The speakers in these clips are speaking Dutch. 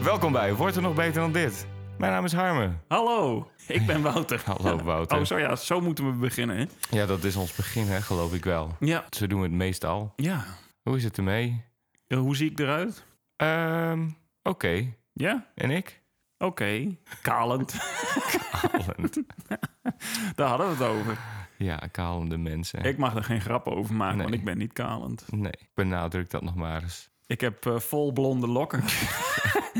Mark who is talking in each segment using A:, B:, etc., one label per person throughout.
A: Welkom bij Wordt er nog beter dan dit? Mijn naam is Harmen.
B: Hallo, ik ben Wouter.
A: Hallo, Wouter.
B: Oh, zo ja, zo moeten we beginnen. Hè?
A: Ja, dat is ons begin, hè, geloof ik wel.
B: Ja.
A: Zo doen we het meestal.
B: Ja.
A: Hoe is het ermee?
B: Eh, hoe zie ik eruit?
A: Ehm, Oké.
B: Ja?
A: En ik?
B: Oké. Kalend.
A: Kalend.
B: Daar hadden we het over.
A: Ja, kalende mensen.
B: Ik mag er geen grappen over maken,
A: Nee.
B: want ik ben niet kalend.
A: Nee, benadruk dat nog maar eens.
B: Ik heb eh, vol blonde lokken.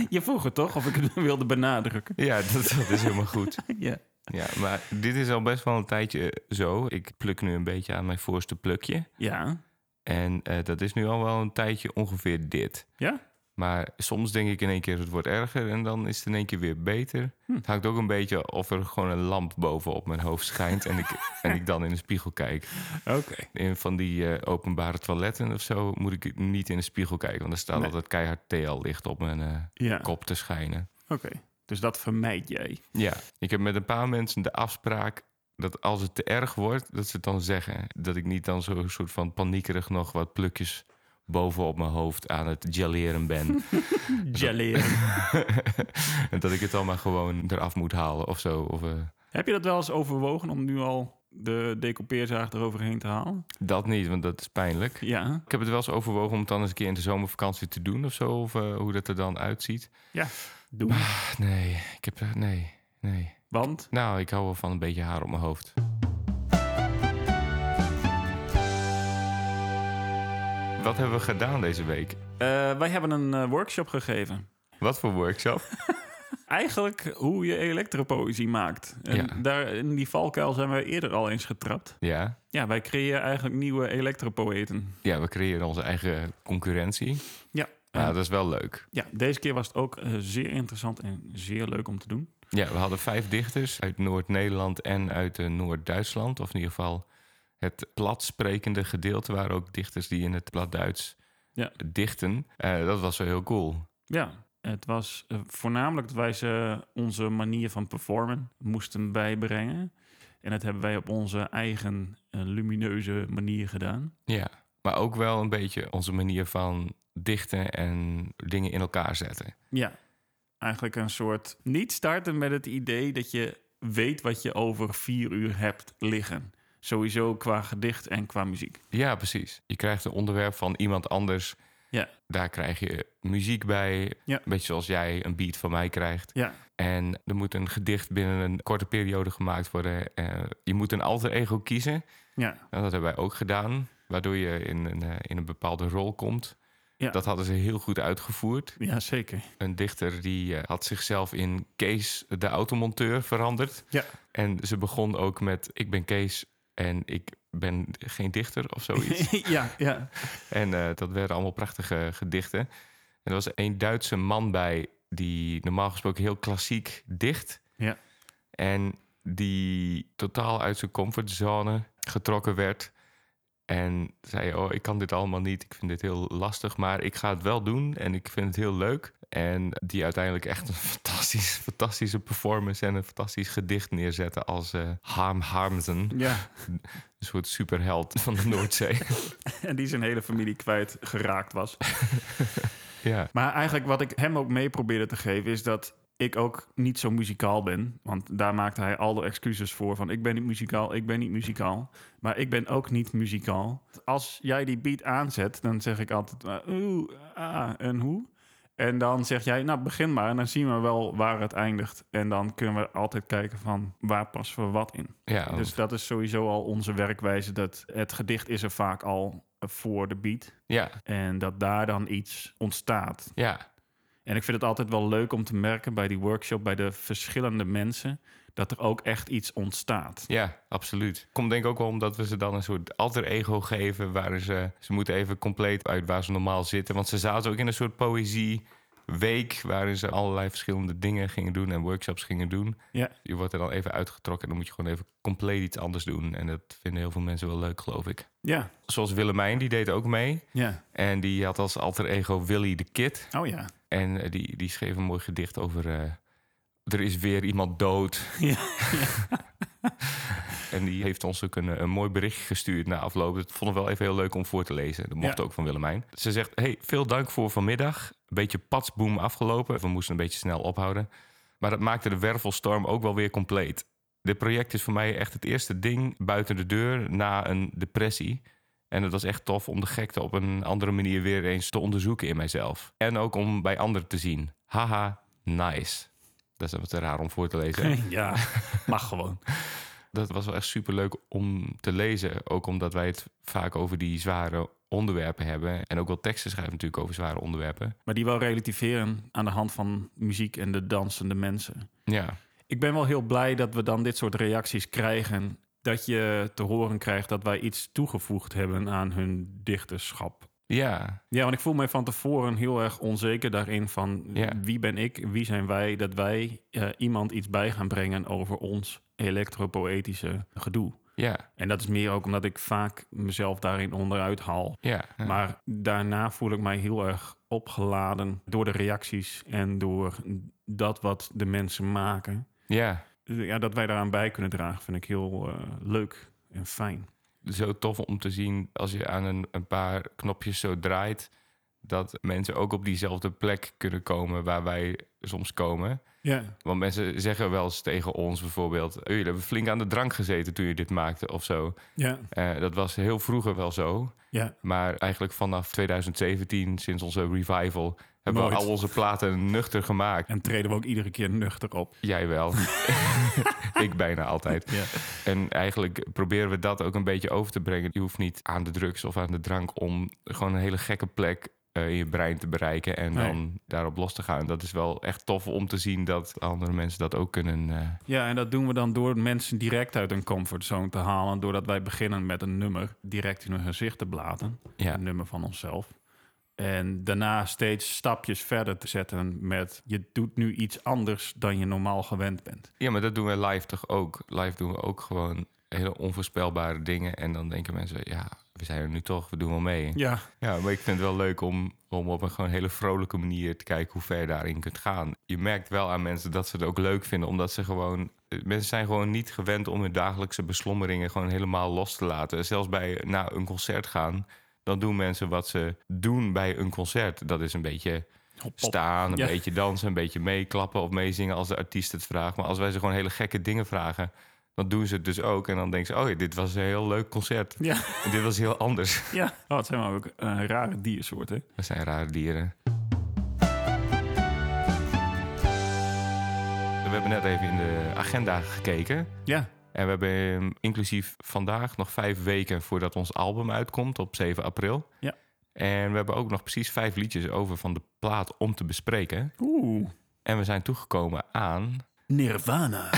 B: Je vroeg het toch of ik het wilde benadrukken?
A: Ja, dat, dat is helemaal goed.
B: Ja.
A: Ja, maar dit is al best wel een tijdje eh, zo. Ik pluk nu een beetje aan mijn voorste plukje.
B: Ja?
A: En eh, dat is nu al wel een tijdje ongeveer dit.
B: Ja?
A: Maar soms denk ik in één keer het wordt erger en dan is het in één keer weer beter. Het hangt ook een beetje of er gewoon een lamp boven op mijn hoofd schijnt en ik, en ik dan in de spiegel kijk.
B: Oké.
A: In van die eh, openbare toiletten of zo moet ik niet in de spiegel kijken, want er staat
B: Nee. Ah.
A: altijd keihard TL-licht op mijn eh,
B: Ja.
A: kop te schijnen.
B: Oké. Dus dat vermijd jij.
A: Ja, ik heb met een paar mensen de afspraak dat als het te erg wordt, dat ze het dan zeggen. Dat ik niet dan zo'n soort van paniekerig nog wat plukjes boven op mijn hoofd aan het geleren ben.
B: Jelleren.
A: en dat ik het dan maar gewoon eraf moet halen of zo. Of, eh,
B: heb je dat wel eens overwogen om nu al de decoupeerzaag eroverheen te halen?
A: dat niet, want dat is pijnlijk.
B: Ja.
A: Ik heb het wel eens overwogen om het dan eens een keer in de zomervakantie te doen of zo. Of eh, hoe dat er dan uitziet.
B: Ja. Doe.
A: Nee, ik heb... eh, Nee, nee.
B: Want?
A: Nou, ik hou wel van een beetje haar op mijn hoofd. Wat hebben we gedaan deze week?
B: Eh, wij hebben een eh, workshop gegeven.
A: Wat voor workshop?
B: Eigenlijk hoe je elektropoëzie maakt. En
A: Ja.
B: daar, in die valkuil zijn wij eerder al eens getrapt.
A: ja.
B: Ja, wij creëren eigenlijk nieuwe elektropoëten.
A: ja, we creëren onze eigen concurrentie.
B: Ja.
A: Ja, dat is wel leuk.
B: ja, deze keer was het ook eh, zeer interessant en zeer leuk om te doen.
A: Ja, we hadden vijf dichters uit Noord-Nederland en uit eh, Noord-Duitsland. Of in ieder geval het platsprekende gedeelte waren ook dichters die in het platduits
B: Ja.
A: dichten. Eh, dat was wel heel cool.
B: Ja, het was eh, voornamelijk dat wij ze onze manier van performen moesten bijbrengen. En dat hebben wij op onze eigen eh, lumineuze manier gedaan.
A: Ja, maar ook wel een beetje onze manier van dichten en dingen in elkaar zetten.
B: Ja, eigenlijk een soort niet starten met het idee dat je weet wat je over vier uur hebt liggen. Sowieso qua gedicht en qua muziek.
A: Ja, precies. Je krijgt een onderwerp van iemand anders.
B: Ja,
A: Daar krijg je muziek bij.
B: Ja.
A: Een beetje zoals jij een beat van mij krijgt.
B: ja,
A: En er moet een gedicht binnen een korte periode gemaakt worden. Eh, je moet een alter ego kiezen.
B: ja,
A: Nou, dat hebben wij ook gedaan, waardoor je in een, eh, in een bepaalde rol komt.
B: Ja.
A: Dat hadden ze heel goed uitgevoerd.
B: ja, zeker.
A: Een dichter die eh, had zichzelf in Kees de automonteur veranderd.
B: Ja.
A: En ze begon ook met ik ben Kees en ik ben geen dichter of zoiets.
B: ja, ja,
A: en eh, dat werden allemaal prachtige gedichten. En er was een Duitse man bij die normaal gesproken heel klassiek dicht.
B: ja,
A: En die totaal uit zijn comfortzone getrokken werd. En zei, oh, ik kan dit allemaal niet. Ik vind dit heel lastig, maar ik ga het wel doen. En ik vind het heel leuk. En die uiteindelijk echt een fantastische, fantastische performance... en een fantastisch gedicht neerzette als eh Harm Harmsen.
B: ja.
A: Een soort superheld van de Noordzee.
B: En die zijn hele familie kwijtgeraakt was.
A: ja.
B: Maar eigenlijk wat ik hem ook mee probeerde te geven is dat ik ook niet zo muzikaal ben. Want daar maakte hij al de excuses voor van ik ben niet muzikaal, ik ben niet muzikaal. Maar ik ben ook niet muzikaal. Als jij die beat aanzet, dan zeg ik altijd eh, oeh, ah en hoe. En dan zeg jij, nou begin maar en dan zien we wel waar het eindigt. En dan kunnen we altijd kijken van waar passen we wat in.
A: ja,
B: Dus dat is sowieso al onze werkwijze. Dat het gedicht is er vaak al eh, voor de beat.
A: ja,
B: En dat daar dan iets ontstaat.
A: ja,
B: En ik vind het altijd wel leuk om te merken bij die workshop, bij de verschillende mensen, dat er ook echt iets ontstaat.
A: ja, absoluut. Komt denk ik ook wel omdat we ze dan een soort alter ego geven... waar ze, ze moeten even compleet uit waar ze normaal zitten. Want ze zaten ook in een soort poëzie... Week waarin ze allerlei verschillende dingen gingen doen en workshops gingen doen.
B: Ja,
A: Je wordt er dan even uitgetrokken en dan moet je gewoon even compleet iets anders doen. En dat vinden heel veel mensen wel leuk, geloof ik.
B: ja,
A: Zoals Willemijn, die deed ook mee.
B: ja.
A: En die had als alter ego Willy de Kid.
B: Oh ja.
A: En eh, die, die schreef een mooi gedicht over... eh, er is weer iemand dood.
B: Ja.
A: En die heeft ons ook een, een mooi bericht gestuurd na afloop. Dat vond ik wel even heel leuk om voor te lezen. Dat mocht
B: Ja.
A: ook van Willemijn. Ze zegt, hey, veel dank voor vanmiddag. Beetje patsboom afgelopen. We moesten een beetje snel ophouden. Maar dat maakte de wervelstorm ook wel weer compleet. Dit project is voor mij echt het eerste ding buiten de deur na een depressie. En het was echt tof om de gekte op een andere manier weer eens te onderzoeken in mijzelf. En ook om bij anderen te zien. Haha, nice. Dat is wat te raar om voor te lezen.
B: ja, mag gewoon.
A: Dat was wel echt superleuk om te lezen. Ook omdat wij het vaak over die zware onderwerpen hebben. En ook wel teksten schrijven natuurlijk over zware onderwerpen.
B: Maar die wou relativeren aan de hand van muziek en de dansende mensen.
A: Ja,
B: Ik ben wel heel blij dat we dan dit soort reacties krijgen. Dat je te horen krijgt dat wij iets toegevoegd hebben aan hun dichterschap.
A: ja,
B: Ja, want ik voel mij van tevoren heel erg onzeker daarin van
A: Ja.
B: wie ben ik, wie zijn wij, dat wij eh, iemand iets bij gaan brengen over ons elektropoëtische gedoe.
A: ja,
B: En dat is meer ook omdat ik vaak mezelf daarin onderuit haal.
A: ja.
B: Maar daarna voel ik mij heel erg opgeladen door de reacties en door dat wat de mensen maken
A: Ja,
B: ja, dat wij daaraan bij kunnen dragen, vind ik heel eh, leuk en fijn.
A: zo tof om te zien als je aan een, een paar knopjes zo draait. Dat mensen ook op diezelfde plek kunnen komen waar wij soms komen.
B: Ja.
A: Want mensen zeggen wel eens tegen ons bijvoorbeeld... "Oh, jullie hebben flink aan de drank gezeten toen je dit maakte of zo.
B: Ja.
A: Eh, dat was heel vroeger wel zo.
B: Ja.
A: Maar eigenlijk vanaf 2017, sinds onze revival... hebben we
B: Nooit.
A: al onze platen nuchter gemaakt.
B: En treden we ook iedere keer nuchter op.
A: Jij wel. ik bijna altijd.
B: Ja.
A: En eigenlijk proberen we dat ook een beetje over te brengen. Je hoeft niet aan de drugs of aan de drank om gewoon een hele gekke plek eh, in je brein te bereiken en
B: Nee.
A: dan daarop los te gaan. Dat is wel echt tof om te zien dat andere mensen dat ook kunnen. eh,
B: ja, en dat doen we dan door mensen direct uit hun comfortzone te halen. Doordat wij beginnen met een nummer direct in hun gezicht te blaten.
A: ja.
B: Een nummer van onszelf. En daarna steeds stapjes verder te zetten met je doet nu iets anders dan je normaal gewend bent.
A: ja, maar dat doen we live toch ook. Live doen we ook gewoon hele onvoorspelbare dingen. En dan denken mensen, ja, we zijn er nu toch, we doen wel mee.
B: Ja,
A: Ja, maar ik vind het wel leuk om, om op een gewoon hele vrolijke manier te kijken hoe ver je daarin kunt gaan. Je merkt wel aan mensen dat ze het ook leuk vinden, omdat ze gewoon. eh, Mensen zijn gewoon niet gewend om hun dagelijkse beslommeringen gewoon helemaal los te laten. Zelfs bij na een concert gaan, dan doen mensen wat ze doen bij een concert. Dat is een beetje
B: hop, hop.
A: staan, een
B: Ja.
A: beetje dansen, een beetje meeklappen of meezingen als de artiest het vraagt. Maar als wij ze gewoon hele gekke dingen vragen, dan doen ze het dus ook. En dan denken ze, oh ja, dit was een heel leuk concert.
B: Ja.
A: Dit was heel anders.
B: ja. Oh, het zijn maar ook eh, rare diersoorten.
A: Dat zijn rare dieren. We hebben net even in de agenda gekeken.
B: Ja,
A: En we hebben eh, inclusief vandaag nog vijf weken voordat ons album uitkomt op 7 april.
B: Ja.
A: En we hebben ook nog precies vijf liedjes over van de plaat om te bespreken.
B: oeh,
A: En we zijn toegekomen aan
B: Nirvana.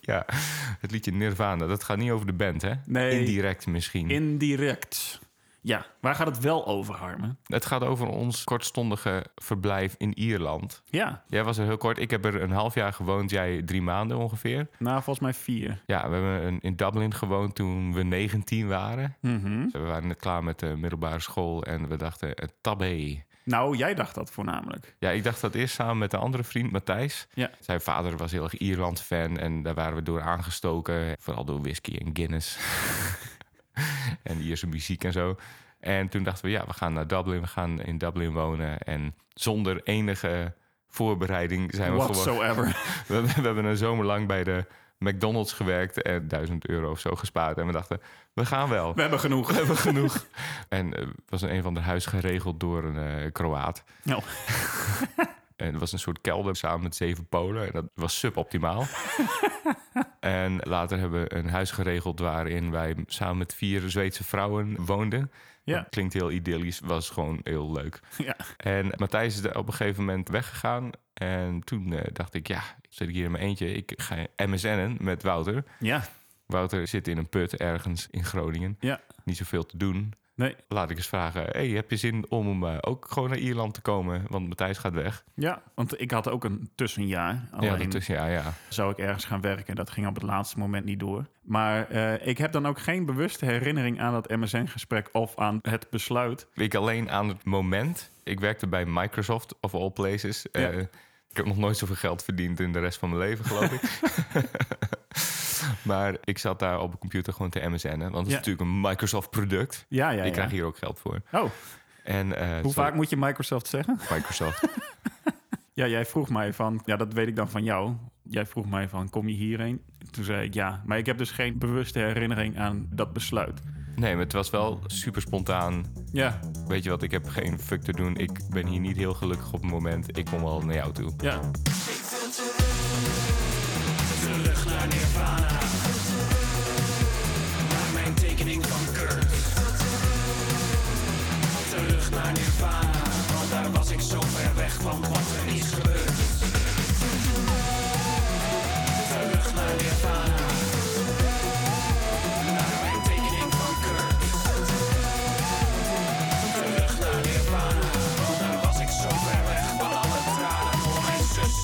A: ja, het liedje Nirvana. Dat gaat niet over de band, hè?
B: Nee.
A: Indirect misschien.
B: Indirect. Ja, waar gaat het wel over, Harmen?
A: Het gaat over ons kortstondige verblijf in Ierland.
B: Ja,
A: Jij was er heel kort. Ik heb er een half jaar gewoond. Jij drie maanden ongeveer.
B: na volgens mij vier.
A: Ja, we hebben een- in Dublin gewoond toen we 19 waren.
B: Mhm.
A: Dus we waren net klaar met de middelbare school en we dachten, eh, tabé.
B: Nou, jij dacht dat voornamelijk.
A: Ja, ik dacht dat eerst samen met een andere vriend, Matthijs.
B: Ja.
A: Zijn vader was heel erg Ierland-fan en daar waren we door aangestoken. Vooral door whisky en Guinness. en Ierse muziek en zo. En toen dachten we, ja, we gaan naar Dublin. We gaan in Dublin wonen. En zonder enige voorbereiding zijn we gewoon...
B: Whatsoever.
A: We, hebben- we hebben een zomer lang bij de McDonald's gewerkt en 1000 euro of zo gespaard. En we dachten, we gaan wel.
B: We hebben genoeg.
A: We hebben genoeg. En eh, was een een van de huis geregeld door een eh, Kroaat.
B: Nou.
A: En het was een soort kelder samen met zeven Polen. En dat was suboptimaal. en later hebben we een huis geregeld waarin wij samen met vier Zweedse vrouwen woonden.
B: Ja.
A: Dat klinkt heel idyllisch, was gewoon heel leuk.
B: Ja.
A: En Matthijs is er op een gegeven moment weggegaan. En toen eh, dacht ik, ja, zit ik hier in mijn eentje. Ik ga MSN'en met Wouter.
B: Ja,
A: Wouter zit in een put ergens in Groningen.
B: Ja.
A: Niet zoveel te doen.
B: nee.
A: Laat ik eens vragen, hey, heb je zin om eh, ook gewoon naar Ierland te komen? Want Matthijs gaat weg.
B: Ja, want ik had ook een tussenjaar. Alleen
A: Ja, dat is, ja, ja.
B: zou ik ergens gaan werken. Dat ging op het laatste moment niet door. Maar eh, ik heb dan ook geen bewuste herinnering aan dat MSN-gesprek of aan het besluit.
A: Ik alleen aan het moment. Ik werkte bij Microsoft, of all places.
B: Ja.
A: Eh, heb nog nooit zoveel geld verdiend in de rest van mijn leven, geloof ik. maar ik zat daar op de computer gewoon te MSN'en. Want het is
B: Ja.
A: natuurlijk een Microsoft-product.
B: Ja, ja,
A: ik
B: ja.
A: krijg hier ook geld voor.
B: Oh,
A: En, eh,
B: hoe
A: zo-
B: vaak moet je Microsoft zeggen?
A: Microsoft.
B: Ja, jij vroeg mij van, ja, dat weet ik dan van jou. Jij vroeg mij van, kom je hierheen? Toen zei ik ja. Maar ik heb dus geen bewuste herinnering aan dat besluit.
A: Nee, maar het was wel super spontaan.
B: Ja,
A: Weet je wat, ik heb geen fuck te doen. Ik ben hier niet heel gelukkig op het moment. Ik kom wel naar jou toe.
B: ja.
C: Terug naar Nirvana. Naar mijn tekening van Kurt. Terug naar Nirvana, want daar was ik zo ver weg van wat er is gebeurd. Terug naar Nirvana. Naar mijn tekening van Kurt. Terug naar Nirvana, want daar was ik zo ver weg van alle tranen voor mijn zus.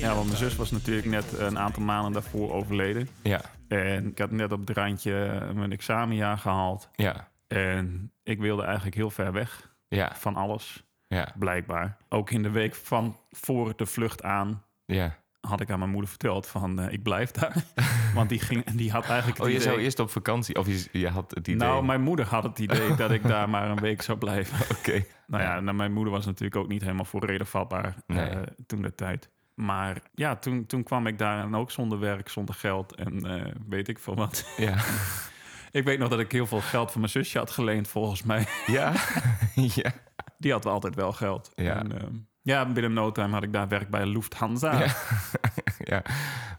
B: Ja, want mijn zus was natuurlijk net een aantal maanden daarvoor overleden.
A: Ja,
B: En ik had net op het randje eh, mijn examenjaar gehaald.
A: ja,
B: En ik wilde eigenlijk heel ver weg
A: ja,
B: van alles,
A: ja,
B: blijkbaar. Ook in de week van voor de vlucht aan
A: ja.
B: had ik aan mijn moeder verteld van eh, ik blijf daar. Want die, ging, die had eigenlijk het
A: Oh, je
B: idee-
A: zou eerst op vakantie. Of je, je had het idee.
B: Nou, mijn moeder had het idee dat ik daar maar een week zou blijven.
A: Oké.
B: Nou ja, nou, mijn moeder was natuurlijk ook niet helemaal voor reden vatbaar
A: Nee.
B: eh, toen de tijd. Maar ja, toen, toen kwam ik daar en ook zonder werk, zonder geld en eh, weet ik veel wat.
A: Ja.
B: ik weet nog dat ik heel veel geld van mijn zusje had geleend, volgens mij.
A: Ja. ja.
B: Die had altijd wel geld.
A: Ja.
B: En, ehm, ja, binnen no time had ik daar werk bij Lufthansa.
A: Ja. ja.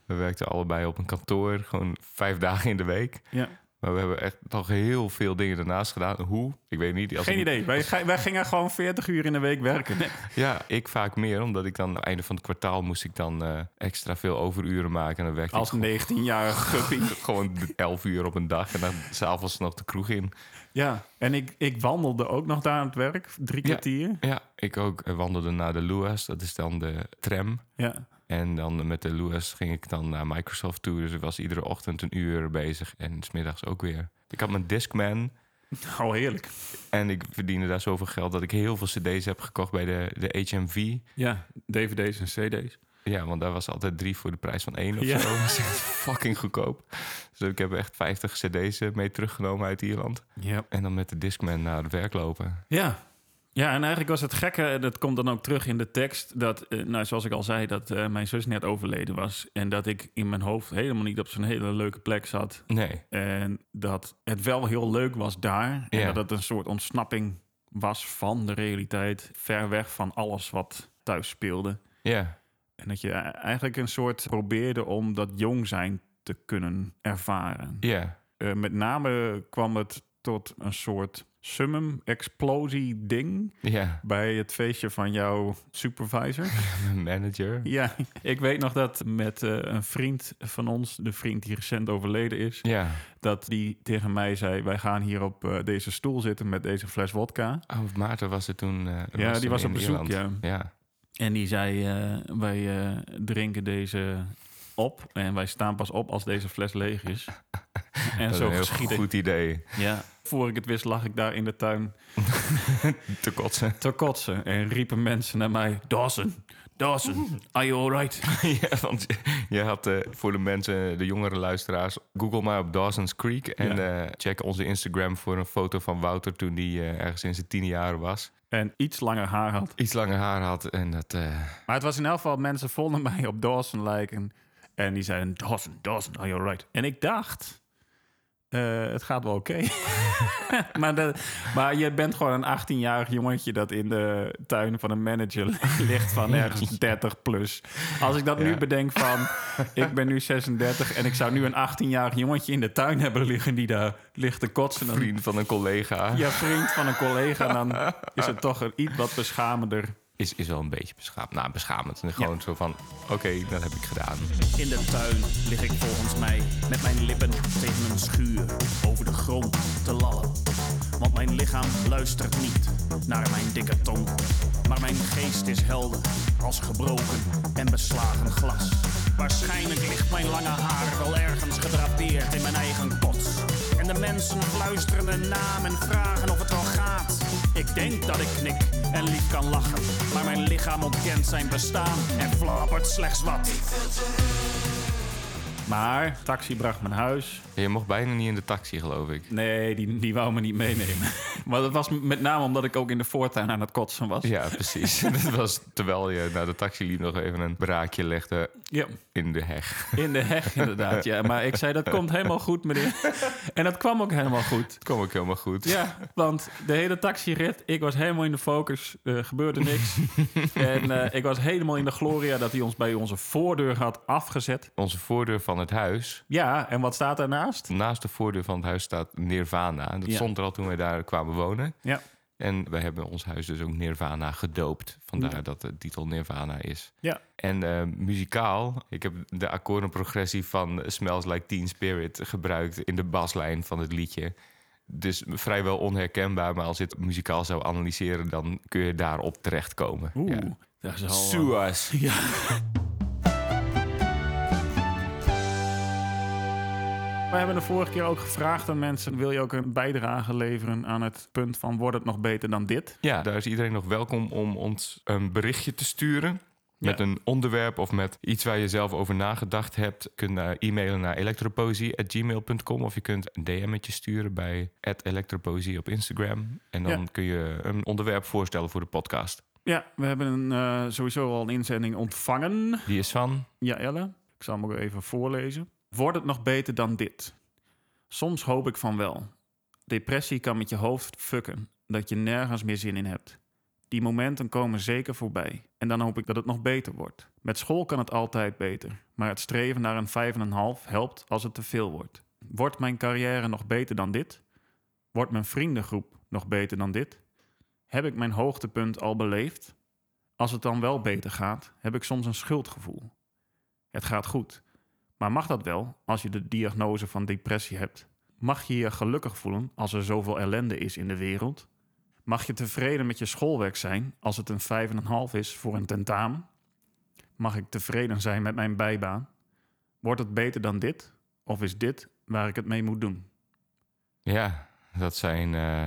A: We werkten allebei op een kantoor, gewoon vijf dagen in de week.
B: Ja.
A: Maar we hebben echt nog heel veel dingen daarnaast gedaan. Hoe? Ik weet niet. Als
B: Geen
A: ik-
B: idee. Wij, ga- wij gingen gewoon 40 uur in de week werken.
A: Ja, ik vaak meer, omdat ik dan aan het einde van het kwartaal moest ik dan eh, extra veel overuren maken. En dan werkte
B: Als 19-jarige guppy.
A: ik gewoon elf uur op een dag en dan s'avonds nog de kroeg in.
B: Ja, en ik, ik wandelde ook nog daar aan het werk, drie kwartier.
A: Ja, ik ook eh, wandelde naar de Luas, dat is dan de tram.
B: Ja.
A: En dan met de Luas ging ik dan naar Microsoft toe. Dus ik was iedere ochtend een uur bezig en smiddags ook weer. Ik had mijn Discman
B: Oh, heerlijk.
A: en ik verdiende daar zoveel geld dat ik heel veel cd's heb gekocht bij de, de HMV.
B: Ja, dvd's en cd's.
A: Ja, want daar was altijd drie voor de prijs van één of
B: Ja.
A: zo. Dat is echt fucking goedkoop. Dus ik heb echt 50 cd's eh, mee teruggenomen uit Ierland.
B: Ja.
A: En dan met de Discman naar het werk lopen.
B: ja. Ja, en eigenlijk was het gekke, en dat komt dan ook terug in de tekst... dat, eh, nou, zoals ik al zei, dat eh, mijn zus net overleden was... en dat ik in mijn hoofd helemaal niet op zo'n hele leuke plek zat...
A: Nee,
B: en dat het wel heel leuk was daar... en
A: Ja.
B: dat het een soort ontsnapping was van de realiteit... ver weg van alles wat thuis speelde.
A: ja,
B: En dat je e-, eigenlijk een soort probeerde om dat jong zijn te kunnen ervaren.
A: ja,
B: Eh, met name kwam het tot een soort summum explosie ding
A: ja.
B: bij het feestje van jouw supervisor.
A: Manager.
B: ja, ik weet nog dat met eh, een vriend van ons, de vriend die recent overleden is,
A: Ja.
B: dat die tegen mij zei: wij gaan hier op eh, deze stoel zitten met deze fles wodka.
A: Oh, Maarten was er toen. eh,
B: Ja, die
A: toen
B: was
A: in
B: op bezoek,
A: Ierland. Ja.
B: En die zei: eh, Wij eh, drinken deze op. En wij staan pas op als deze fles leeg is. En
A: Dat is
B: zo
A: een heel
B: geschiet het.
A: goed idee.
B: Ja. Voor ik het wist, lag ik daar in de tuin
A: Te kotsen.
B: te kotsen. En riepen mensen naar mij: Dawson, Dawson, are you alright?
A: ja, want je- je had eh, voor de mensen, de jongere luisteraars... Google maar op Dawson's Creek. En eh, check onze Instagram voor een foto van Wouter... toen die eh, ergens in zijn tien jaar was.
B: En iets langer haar had.
A: Iets langer haar had en dat... eh,
B: Maar het was in elk geval, mensen vonden mij op Dawson lijken. En die zeiden: Dawson, Dawson, are you alright? En ik dacht: eh, Het gaat wel oké. maar, dat- maar je bent gewoon een 18-jarig jongetje dat in de tuin van een manager ligt van ergens 30 plus. Als ik dat nu
A: Ja.
B: bedenk van: Ik ben nu 36 en ik zou nu een 18-jarig jongetje in de tuin hebben liggen die daar ligt te kotsen. Dan,
A: vriend van een collega.
B: ja, vriend van een collega. Dan is het toch een iets wat beschamender.
A: Is, is wel een beetje beschaamd. Nou, beschamend. En gewoon zo van, oké, dat heb ik gedaan.
C: In de tuin lig ik volgens mij met mijn lippen tegen een schuur over de grond te lallen. Want mijn lichaam luistert niet naar mijn dikke tong. Maar mijn geest is helder als gebroken en beslagen glas. Waarschijnlijk ligt mijn lange haar wel ergens gedrapeerd in mijn eigen kots. En de mensen fluisteren een naam en vragen of het al gaat. Ik denk dat ik knik en lief kan lachen. Maar mijn lichaam ontkent zijn bestaan en flappert slechts wat.
B: Maar taxi bracht me naar huis.
A: Je mocht bijna niet in de taxi, geloof ik.
B: Nee, die, die wou me niet meenemen. maar dat was met name omdat ik ook in de voortuin aan het kotsen was.
A: Ja, precies. dat was terwijl je naar de taxi liep nog even een braakje legde
B: Ja,
A: in de heg.
B: in de heg inderdaad. Ja. Maar ik zei, dat komt helemaal goed, meneer. En dat kwam ook helemaal goed.
A: Kom ik helemaal goed.
B: Ja, want de hele taxirit, ik was helemaal in de focus, eh, gebeurde niks. en eh, ik was helemaal in de gloria dat hij ons bij onze voordeur had afgezet.
A: Onze voordeur van het huis.
B: Ja, en wat staat daarnaast?
A: Naast de voordeur van het huis staat Nirvana. Dat
B: Ja.
A: stond er al toen wij daar kwamen wonen.
B: Ja.
A: En wij hebben ons huis dus ook Nirvana gedoopt. Vandaar
B: Ja.
A: dat de titel Nirvana is.
B: Ja.
A: En eh, muzikaal, ik heb de akkoordenprogressie van Smells Like Teen Spirit gebruikt in de baslijn van het liedje. Dus vrijwel onherkenbaar, maar als je het muzikaal zou analyseren, dan kun je daarop terechtkomen.
B: Oeh,
A: Ja.
B: dat is al... eh,
A: Suas.
B: We hebben de vorige keer ook gevraagd aan mensen: wil je ook een bijdrage leveren aan het punt van wordt het nog beter dan dit?
A: Ja, daar is iedereen nog welkom om ons een berichtje te sturen. Met
B: Ja.
A: een onderwerp of met iets waar je zelf over nagedacht hebt. Kun je eh, e-mailen naar elektropoëzie.gmail.com of je kunt een DM'tje sturen bij elektropoëzie op Instagram. En dan
B: Ja.
A: kun je een onderwerp voorstellen voor de podcast.
B: Ja, we hebben een, eh, sowieso al een inzending ontvangen.
A: Die is van.
B: Ja, Elle, ik zal hem ook even voorlezen. Wordt het nog beter dan dit? Soms hoop ik van wel. Depressie kan met je hoofd fucken, dat je nergens meer zin in hebt. Die momenten komen zeker voorbij. En dan hoop ik dat het nog beter wordt. Met school kan het altijd beter, maar het streven naar een 5,5 helpt als het te veel wordt. Wordt mijn carrière nog beter dan dit? Wordt mijn vriendengroep nog beter dan dit? Heb ik mijn hoogtepunt al beleefd? Als het dan wel beter gaat, heb ik soms een schuldgevoel. Het gaat goed. Maar mag dat wel als je de diagnose van depressie hebt? Mag je je gelukkig voelen als er zoveel ellende is in de wereld? Mag je tevreden met je schoolwerk zijn als het een 5,5 is voor een tentamen? Mag ik tevreden zijn met mijn bijbaan? Wordt het beter dan dit? Of is dit waar ik het mee moet doen?
A: Ja, dat zijn eh,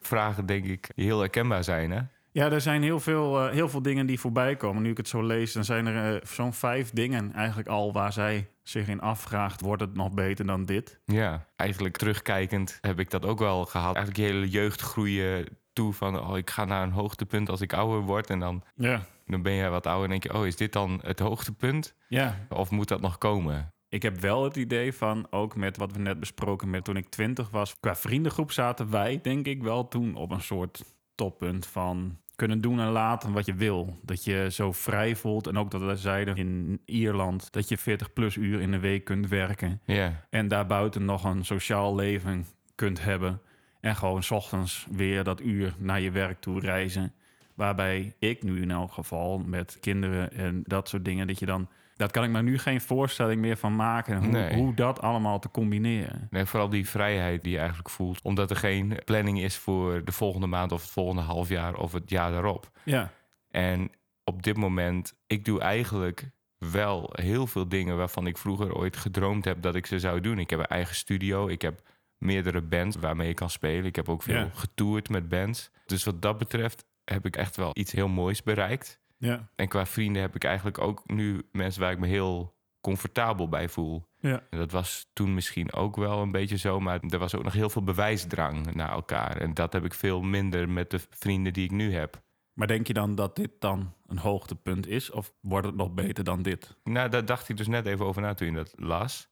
A: vragen, denk ik, die heel herkenbaar zijn. Hè?
B: Ja, er zijn heel veel, eh, heel veel dingen die voorbij komen. Nu ik het zo lees, dan zijn er eh, zo'n vijf dingen eigenlijk al waar zij zich in afvraagt: wordt het nog beter dan dit?
A: Ja, eigenlijk terugkijkend heb ik dat ook wel gehad. Eigenlijk je hele jeugd groeien toe van, oh, ik ga naar een hoogtepunt als ik ouder word. En dan
B: Ja,
A: Dan ben jij wat ouder en denk je, oh, is dit dan het hoogtepunt?
B: ja.
A: Of moet dat nog komen?
B: Ik heb wel het idee van, ook met wat we net besproken met toen ik twintig was, qua vriendengroep zaten wij denk ik wel toen op een soort toppunt van kunnen doen en laten wat je wil. Dat je zo vrij voelt en ook dat we zeiden in Ierland dat je 40 plus uur in de week kunt werken
A: Ja,
B: en daarbuiten nog een sociaal leven kunt hebben en gewoon 's ochtends weer dat uur naar je werk toe reizen. Waarbij ik nu in elk geval met kinderen en dat soort dingen, dat je dan. Dat kan ik me nu geen voorstelling meer van maken. Hoe,
A: Nee.
B: hoe dat allemaal te combineren.
A: nee, vooral die vrijheid die je eigenlijk voelt. Omdat er geen planning is voor de volgende maand of het volgende half jaar of het jaar daarop.
B: Ja.
A: En op dit moment, ik doe eigenlijk wel heel veel dingen waarvan ik vroeger ooit gedroomd heb dat ik ze zou doen. Ik heb een eigen studio, ik heb meerdere bands waarmee ik kan spelen. Ik heb ook veel
B: Ja.
A: getoerd met bands. Dus wat dat betreft heb ik echt wel iets heel moois bereikt.
B: ja.
A: En qua vrienden heb ik eigenlijk ook nu mensen waar ik me heel comfortabel bij voel.
B: Ja.
A: En dat was toen misschien ook wel een beetje zo, maar er was ook nog heel veel bewijsdrang naar elkaar. En dat heb ik veel minder met de vrienden die ik nu heb.
B: Maar denk je dan dat dit dan een hoogtepunt is? Of wordt het nog beter dan dit?
A: Nou, daar dacht ik dus net even over na toen je dat las.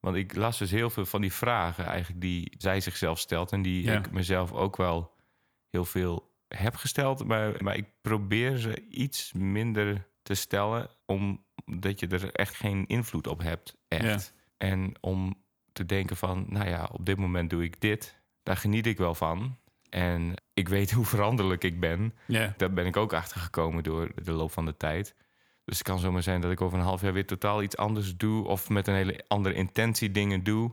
A: Want ik las dus heel veel van die vragen eigenlijk die zij zichzelf stelt. En die
B: Ja.
A: ik mezelf ook wel heel veel heb gesteld. Maar, maar ik probeer ze iets minder te stellen. Omdat je er echt geen invloed op hebt. Echt. En om te denken van, nou ja, op dit moment doe ik dit. Daar geniet ik wel van. En ik weet hoe veranderlijk ik ben.
B: Ja.
A: Daar ben ik ook achter gekomen door de loop van de tijd. Dus het kan zomaar zijn dat ik over een half jaar weer totaal iets anders doe. Of met een hele andere intentie dingen doe.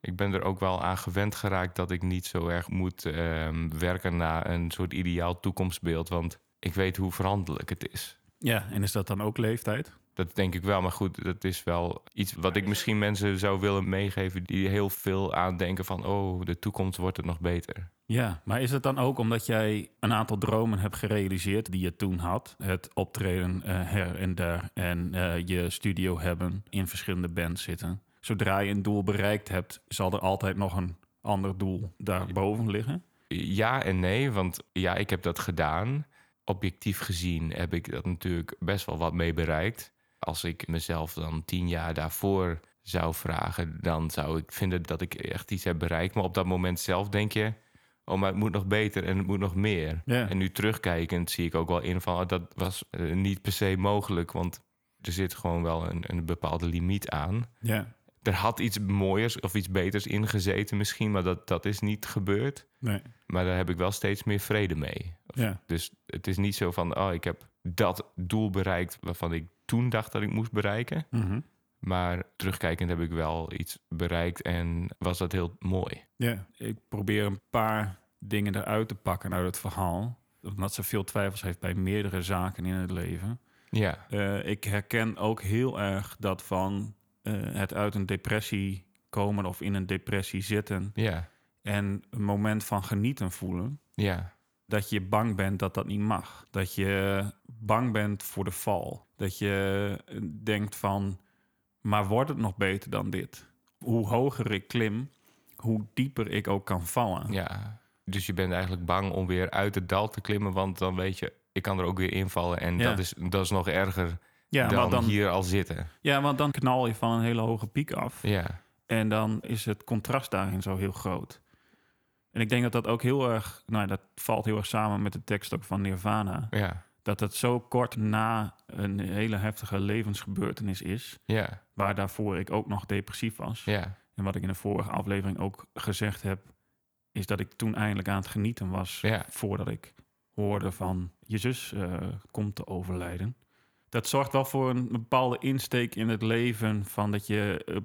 A: Ik ben er ook wel aan gewend geraakt dat ik niet zo erg moet ehm, werken naar een soort ideaal toekomstbeeld. Want ik weet hoe veranderlijk het is.
B: ja. En is dat dan ook leeftijd?
A: Dat denk ik wel. Maar goed, dat is wel iets wat ik misschien mensen zou willen meegeven. die heel veel aan denken van: oh, de toekomst wordt het nog beter.
B: Ja, maar is het dan ook omdat jij een aantal dromen hebt gerealiseerd die je toen had? Het optreden eh, her en daar en eh, je studio hebben, in verschillende bands zitten. Zodra je een doel bereikt hebt, zal er altijd nog een ander doel daarboven liggen.
A: Ja en nee, want ja, ik heb dat gedaan. Objectief gezien heb ik dat natuurlijk best wel wat mee bereikt. Als ik mezelf dan tien jaar daarvoor zou vragen, dan zou ik vinden dat ik echt iets heb bereikt. Maar op dat moment zelf denk je, oh, maar het moet nog beter en het moet nog meer.
B: Ja.
A: En nu terugkijkend zie ik ook wel in van, oh, dat was eh, niet per se mogelijk, want er zit gewoon wel een, een bepaalde limiet aan.
B: Ja,
A: Er had iets mooiers of iets beters ingezeten misschien, maar dat, dat is niet gebeurd.
B: nee,
A: Maar daar heb ik wel steeds meer vrede mee.
B: ja,
A: Dus het is niet zo van, oh, ik heb dat doel bereikt waarvan ik toen dacht dat ik moest bereiken.
B: mhm,
A: Maar terugkijkend heb ik wel iets bereikt en was dat heel mooi.
B: ja. Ik probeer een paar dingen eruit te pakken uit het verhaal. Omdat ze veel twijfels heeft bij meerdere zaken in het leven.
A: Ja,
B: Eh, ik herken ook heel erg dat van eh, het uit een depressie komen of in een depressie zitten
A: ja,
B: en een moment van genieten voelen.
A: ja,
B: Dat je bang bent dat dat niet mag. Dat je bang bent voor de val. Dat je eh, denkt van, maar wordt het nog beter dan dit? Hoe hoger ik klim, hoe dieper ik ook kan vallen.
A: ja. Dus je bent eigenlijk bang om weer uit het dal te klimmen, want dan weet je, ik kan er ook weer invallen. En
B: Ja.
A: dat, is, dat is nog erger
B: Ja,
A: dan,
B: want dan,
A: hier al zitten.
B: ja, want dan knal je van een hele hoge piek af.
A: Ja,
B: En dan is het contrast daarin zo heel groot. En ik denk dat dat ook heel erg, nou ja, dat valt heel erg samen met de tekst ook van Nirvana.
A: ja,
B: Dat het zo kort na een hele heftige levensgebeurtenis is,
A: ja,
B: waar daarvoor ik ook nog depressief was.
A: ja,
B: En wat ik in de vorige aflevering ook gezegd heb, is dat ik toen eindelijk aan het genieten was
A: ja,
B: voordat ik hoorde van je zus eh, komt te overlijden. Dat zorgt wel voor een bepaalde insteek in het leven van dat je eh,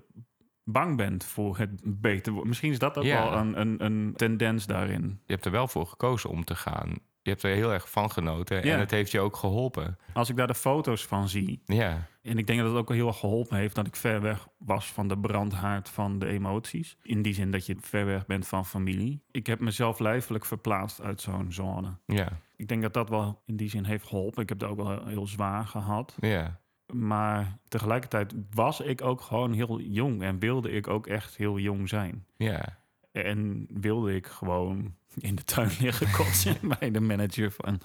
B: bang bent voor het beter worden. Misschien is dat ook
A: Ja.
B: wel een, een, een tendens daarin.
A: Je hebt er wel voor gekozen om te gaan. Je hebt er heel erg van genoten
B: Ja.
A: en het heeft je ook geholpen.
B: Als ik daar de foto's van zie,
A: Ja,
B: en ik denk dat het ook heel erg geholpen heeft dat ik ver weg was van de brandhaard van de emoties. In die zin dat je ver weg bent van familie. Ik heb mezelf lijfelijk verplaatst uit zo'n zone.
A: ja,
B: Ik denk dat dat wel in die zin heeft geholpen. Ik heb dat ook wel heel zwaar gehad.
A: ja.
B: Maar tegelijkertijd was ik ook gewoon heel jong en wilde ik ook echt heel jong zijn.
A: Ja,
B: En wilde ik gewoon in de tuin liggen kotsen bij de manager van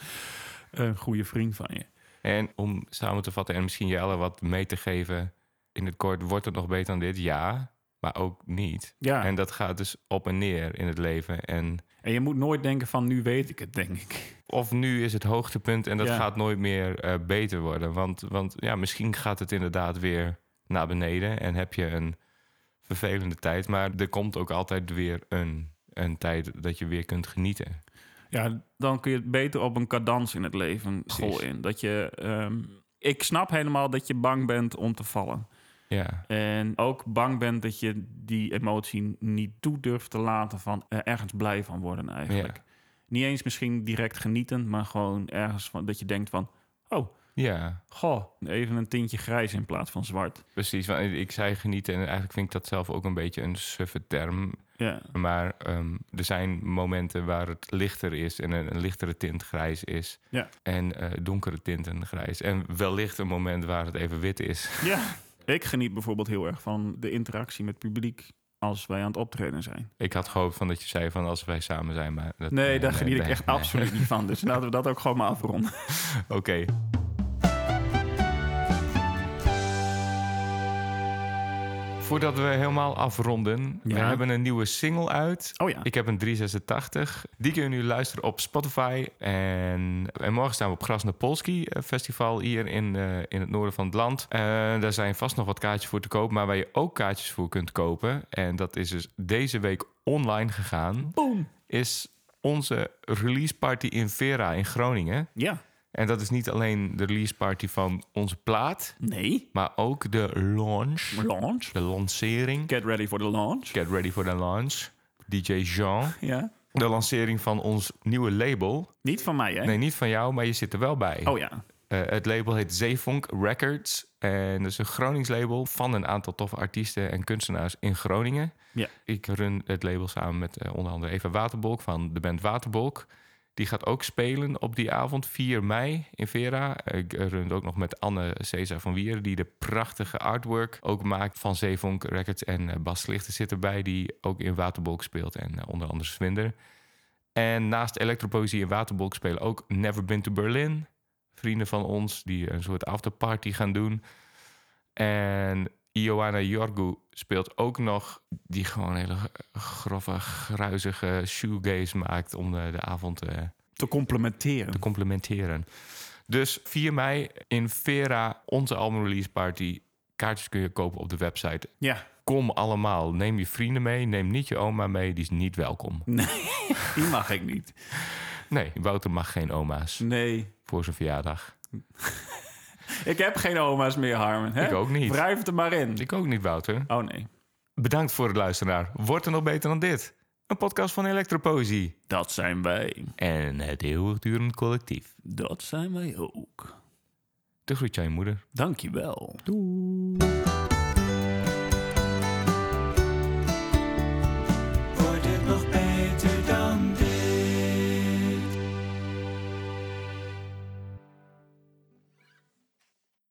B: een goede vriend van je.
A: en om samen te vatten en misschien Jelle wat mee te geven in het kort, wordt het nog beter dan dit? Ja, maar ook niet.
B: Ja, en,
A: En dat gaat dus op en neer in het leven. En
B: je moet nooit denken van nu weet ik het, denk ik.
A: of nu is het hoogtepunt en dat
B: Ja.
A: gaat nooit meer eh, beter worden. Want, want ja, misschien gaat het inderdaad weer naar beneden en heb je een vervelende tijd. Maar er komt ook altijd weer een, een tijd dat je weer kunt genieten.
B: Ja, dan kun je het beter op een cadans in het leven gooien. Dat je, ehm, ik snap helemaal dat je bang bent om te vallen.
A: Ja,
B: En ook bang bent dat je die emotie niet toe durft te laten van eh, ergens blij van worden eigenlijk.
A: ja.
B: niet eens misschien direct genieten, maar gewoon ergens van dat je denkt van, oh,
A: ja.
B: goh, even een tintje grijs in plaats van zwart.
A: Precies, want ik zei genieten en eigenlijk vind ik dat zelf ook een beetje een suffe term.
B: Ja,
A: Maar ehm, er zijn momenten waar het lichter is en een, een lichtere tint grijs is.
B: Ja.
A: En eh, donkere tinten grijs. En wellicht een moment waar het even wit is.
B: ja. Ik geniet bijvoorbeeld heel erg van de interactie met publiek als wij aan het optreden zijn.
A: Ik had gehoopt van dat je zei van als wij samen zijn. Maar dat, eh,
B: Nee, daar
A: nee,
B: geniet ik
A: nee,
B: echt
A: nee.
B: absoluut niet van. Dus laten we dat ook gewoon maar afronden.
A: Oké. Voordat we helemaal afronden, we
B: Ja.
A: hebben een nieuwe single uit.
B: Oh ja.
A: Ik heb een 386. Die kun je nu luisteren op Spotify. En, en morgen staan we op Krasnopolski eh, Festival hier in, eh, in het noorden van het land. Eh, daar zijn vast nog wat kaartjes voor te koop. Maar waar je ook kaartjes voor kunt kopen... en dat is dus deze week online gegaan...
B: Boom.
A: is onze release party in Vera in Groningen.
B: Ja.
A: En dat is niet alleen de release party van onze plaat...
B: Nee.
A: maar ook de launch,
B: Launch.
A: de lancering.
B: Get ready for the launch.
A: Get ready for the launch. DJ Jean...
B: Ja.
A: De lancering van ons nieuwe label.
B: Niet van mij, hè?
A: Nee, niet van jou, maar je zit er wel bij.
B: Oh ja.
A: Eh, het label heet Zeevonk Records. En dat is een Gronings label van een aantal toffe artiesten en kunstenaars in Groningen.
B: Ja.
A: Ik run het label samen met eh, onder andere Eva Waterbolk van de band Waterbolk. Die gaat ook spelen op die avond, 4 mei, in Vera. Ik run het ook nog met Anne Cesar van Wieren, die de prachtige artwork ook maakt van Zeevonk Records. En eh, Bas Slichter zit erbij, die ook in Waterbolk speelt en eh, onder andere Swinder. En naast Electropoëzie en Waterbolk spelen ook Never Been to Berlin. Vrienden van ons die een soort afterparty gaan doen. En Ioana Jorgu speelt ook nog, die gewoon een hele grove, gruizige shoegaze maakt om de, de avond eh,
B: Te complementeren.
A: te complementeren. Dus 4 mei in Vera, onze album release party. Kaartjes kun je kopen op de website.
B: Ja,
A: Kom allemaal, neem je vrienden mee, neem niet je oma mee, die is niet welkom.
B: die mag ik niet.
A: Nee, Wouter mag geen oma's
B: Nee,
A: voor zijn verjaardag.
B: ik heb geen oma's meer, Harmen. Hè?
A: Ik ook niet.
B: Wrijf het er maar in.
A: Ik ook niet, Wouter.
B: Oh nee,
A: Bedankt voor het luisteren naar Wordt er nog beter dan dit? Een podcast van Electropoëzie
B: dat zijn wij.
A: en het eeuwigdurend collectief.
B: Dat zijn wij ook.
A: De groet aan je moeder.
B: Dankjewel.
A: Doei.